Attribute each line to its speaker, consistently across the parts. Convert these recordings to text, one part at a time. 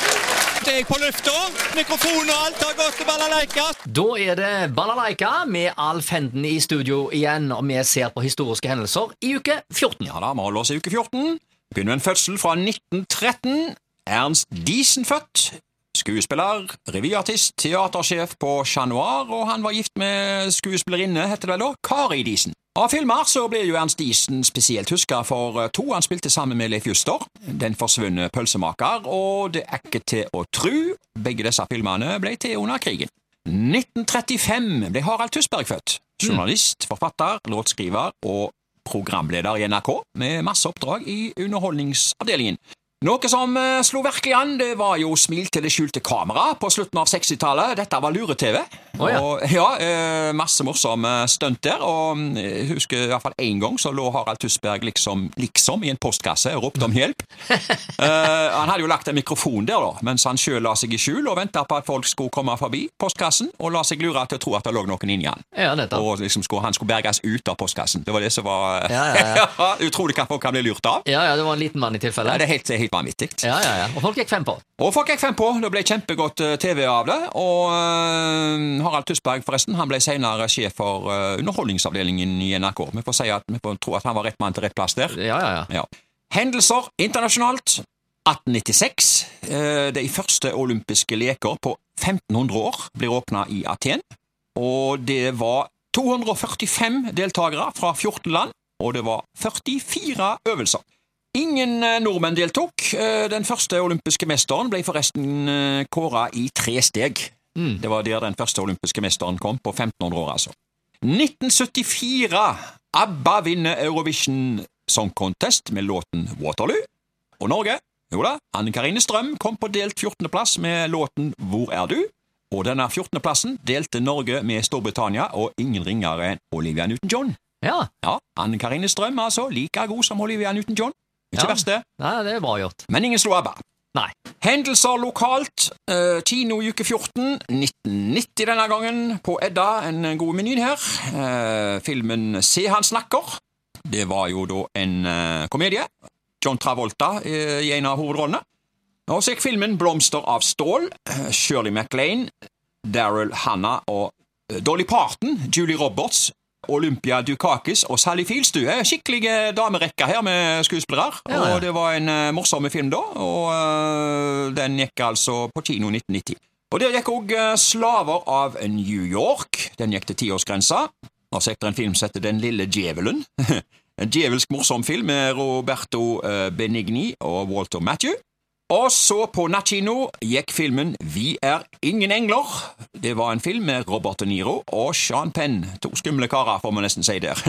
Speaker 1: Snart er jeg på lufta. Mikrofon og alt har gått til balalaika.
Speaker 2: Da er det Balalaika med Alf Henden i studio igjen, og vi ser på historiske hendelser i uke 14.
Speaker 1: Ja da, vi holder oss i uke 14. Begynner med en fødsel fra 1913. Ernst Diesen født. Skuespiller, revyartist, teatersjef på Chat Noir, og han var gift med skuespillerinne, heter det vel da, Kari Diesen. Av filmer så blir jo Ernst Diesen spesielt huska for eh, to han spilte sammen med Leif Juster, Den forsvunne pølsemaker og Det er ikke til å tru. Begge disse filmene ble til under krigen. 1935 ble Harald Tusberg født.
Speaker 2: Mm.
Speaker 1: Journalist, forfatter, låtskriver og programleder i NRK, med masse oppdrag i Underholdningsavdelingen. Noe som eh, slo virkelig an, det var jo Smil til det skjulte kamera på slutten av 60-tallet. Dette var lure-TV.
Speaker 2: Å, ja.
Speaker 1: Og, ja, eh, masse morsomme stunt der. Og mm, jeg husker i hvert fall én gang så lå Harald Tusberg liksom, liksom i en postkasse og ropte om hjelp. Eh, han hadde jo lagt en mikrofon der, da, mens han sjøl la seg i skjul og venta på at folk skulle komme forbi postkassen, og la seg lure til å tro at det lå noen inni han.
Speaker 2: Ja, nettopp.
Speaker 1: Og liksom skulle, han skulle berges ut av postkassen. Det var det som var eh,
Speaker 2: Ja, ja, ja.
Speaker 1: Utrolig hva folk kan bli lurt av.
Speaker 2: Ja, ja, det var en liten mann i
Speaker 1: Ja,
Speaker 2: tilfelle.
Speaker 1: det er helt, det er helt vanvittig.
Speaker 2: Ja, ja, ja. Og folk gikk fem på.
Speaker 1: Og folk gikk fem på. Det ble kjempegodt eh, TV av det. Og eh, Harald Tusberg, forresten, han ble senere sjef for eh, Underholdningsavdelingen i NRK. Vi får si at vi får tro at han var rett mann til rett plass der.
Speaker 2: Ja, ja, ja.
Speaker 1: Ja. Hendelser internasjonalt. 1896. eh, De første olympiske leker på 1500 år blir åpna i Aten. Og det var 245 deltakere fra 14 land, og det var 44 øvelser. Ingen eh, nordmenn deltok. Eh, Den første olympiske mesteren ble forresten eh, kåra i tre steg.
Speaker 2: Mm.
Speaker 1: Det var der den første olympiske mesteren kom, på 1500 år, altså. 1974. ABBA vinner Eurovision Song Contest med låten Waterloo. Og Norge? Jo da, Anne Karine Strøm kom på delt 14. plass med låten Hvor er du? Og denne 14. plassen delte Norge med Storbritannia og ingen ringere enn Olivia Newton-John.
Speaker 2: Ja,
Speaker 1: Ja, Anne Karine Strøm altså, like god som Olivia Newton-John. Ikke
Speaker 2: Ja.
Speaker 1: verst det.
Speaker 2: Nei, det er bra gjort.
Speaker 1: Men ingen slo ABBA.
Speaker 2: Nei.
Speaker 1: Hendelser lokalt. eh, kino i uke 14. 1990 denne gangen. På Edda, en god meny her. Eh, filmen Se han snakker. Det var jo da en eh, komedie. John Travolta eh, i en av hovedrollene. Og så gikk filmen Blomster av stål. Eh, Shirley MacLaine, Daryl Hannah og eh, Dolly Parton, Julie Roberts, Olympia Dukakis og Sally Filstue. Skikkelige damerekker her med skuespillere.
Speaker 2: Ja, ja.
Speaker 1: Og det var en eh, morsom film da, og eh, den gikk altså på kino 1990. Og der gikk òg Slaver av New York. Den gikk til tiårsgrensa. Og så gikk det en film som heter Den lille djevelen. en djevelsk morsom film med Roberto eh, Benigni og Walter Matthew. Og så på nattkino gikk filmen Vi er ingen engler. Det var en film med Robert De Niro og Sean Penn. To skumle karer, får man nesten si der.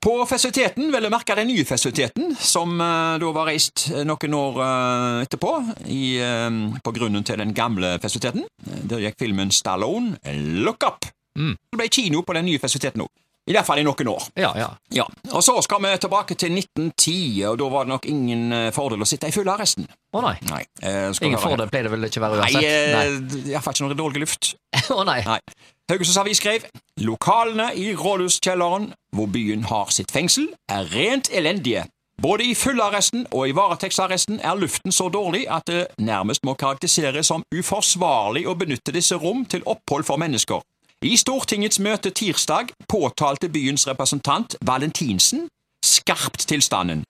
Speaker 1: På festiviteten, vel å merke den nye festiviteten, som eh, da var reist eh, noen år eh, etterpå, i, eh, på grunnen til den gamle festiviteten. Der gikk filmen Stallone Look Up.
Speaker 2: Mm.
Speaker 1: Det ble kino på den nye festiviteten òg. I hvert fall i noen år.
Speaker 2: Ja, ja.
Speaker 1: Ja, Og så skal vi tilbake til 1910, og da var det nok ingen eh, fordel å sitte i full arresten.
Speaker 2: Å nei.
Speaker 1: Nei. Eh, skal
Speaker 2: Ingen
Speaker 1: vi høre
Speaker 2: fordel pleier det vel ikke å være
Speaker 1: her? Nei,
Speaker 2: uansett. Nei.
Speaker 1: eh, iallfall ikke når det er dårlig luft.
Speaker 2: Å nei.
Speaker 1: Nei. Haugesunds Avis skrev lokalene i rådhuskjelleren, hvor byen har sitt fengsel, er rent elendige. Både i fullarresten og i varetektsarresten er luften så dårlig at det nærmest må karakteriseres som uforsvarlig å benytte disse rom til opphold for mennesker. I Stortingets møte tirsdag påtalte byens representant Valentinsen skarpt tilstanden.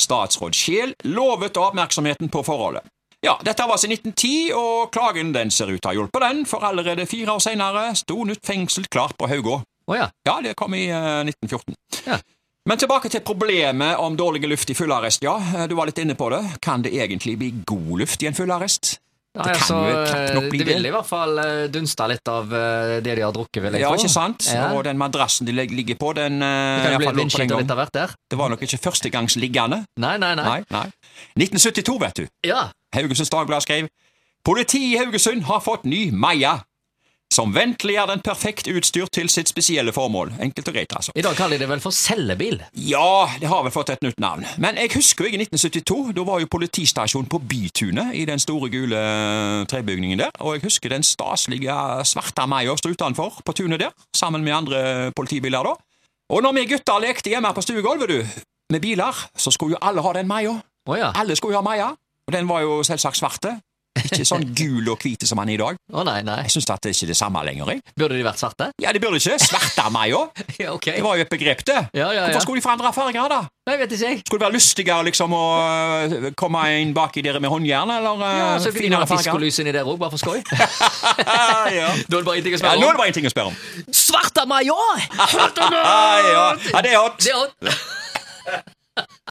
Speaker 1: Statsråd Scheel lovet oppmerksomheten på forholdet. Ja, dette var altså 1910, og klagen den ser ut til å ha hjulpet den, for allerede fire år senere sto nytt fengsel klart på Haugå.
Speaker 2: Å ja.
Speaker 1: Ja, det kom i eh, 1914.
Speaker 2: Ja.
Speaker 1: Men tilbake til problemet om dårlig luft i fullarrest, ja. eh, Du var litt inne på det. Kan det egentlig bli god luft i en fullarrest?
Speaker 2: Nei,
Speaker 1: Det kan
Speaker 2: altså,
Speaker 1: jo knapt nok bli
Speaker 2: det vil
Speaker 1: det.
Speaker 2: i hvert fall eh, dunste litt av eh, det de har drukket, vil jeg
Speaker 1: Ja,
Speaker 2: tro.
Speaker 1: ikke sant?
Speaker 2: Ja.
Speaker 1: Og den madrassen de leg- ligger på, den
Speaker 2: Det
Speaker 1: eh,
Speaker 2: kan jo
Speaker 1: i
Speaker 2: bli et
Speaker 1: hvert fall lå på den
Speaker 2: vindskilt og
Speaker 1: gangen.
Speaker 2: litt av hvert der.
Speaker 1: Det var nok ikke førstegangsliggende.
Speaker 2: Nei, nei, nei.
Speaker 1: Nei, nei. 1972, vet du.
Speaker 2: Ja.
Speaker 1: Haugesunds Dagblad skrev Politiet i Haugesund har fått ny Maja. Som ventelig er den perfekt utstyrt til sitt spesielle formål. Enkelt og greit, altså.
Speaker 2: I dag kaller de det vel for cellebil.
Speaker 1: Ja, det har vel fått et nytt navn. Men jeg husker jo i 1972, da var jo politistasjonen på Bytunet, i den store gule eh, trebygningen der, og jeg husker den staselige eh, svarte Maja sto utenfor på tunet der, sammen med andre politibiler da. Og når vi gutter lekte hjemme på stuegulvet, du, med biler, så skulle jo alle ha den Maja.
Speaker 2: Å ja.
Speaker 1: Alle skulle jo ha Maja, og den var jo selvsagt svarte. Ikke sånn gul og hvite som han er i dag.
Speaker 2: Å nei, nei.
Speaker 1: Jeg syns det er ikke det samme lenger. Jeg.
Speaker 2: Burde de vært svarte?
Speaker 1: Ja, det burde ikke. Svartamaja.
Speaker 2: Ja, ok.
Speaker 1: Det var jo et begrep, det.
Speaker 2: Ja, ja, ja.
Speaker 1: Hvorfor skulle de forandre farger, da?
Speaker 2: Nei, vet ikke jeg.
Speaker 1: Skulle det være lystigere liksom å øh, komme inn baki der med håndjern, eller øh,
Speaker 2: Ja, så kunne de
Speaker 1: finere
Speaker 2: ha
Speaker 1: farger?
Speaker 2: diskolys inni der òg, bare for skøy.
Speaker 1: Ah, ja.
Speaker 2: Da er det bare én ting å
Speaker 1: ja,
Speaker 2: spørre
Speaker 1: nå er
Speaker 2: om.
Speaker 1: det bare én ting å spørre om.
Speaker 2: Svarta major!
Speaker 1: Ah, ja. ja, det er hot.
Speaker 2: Det er hot.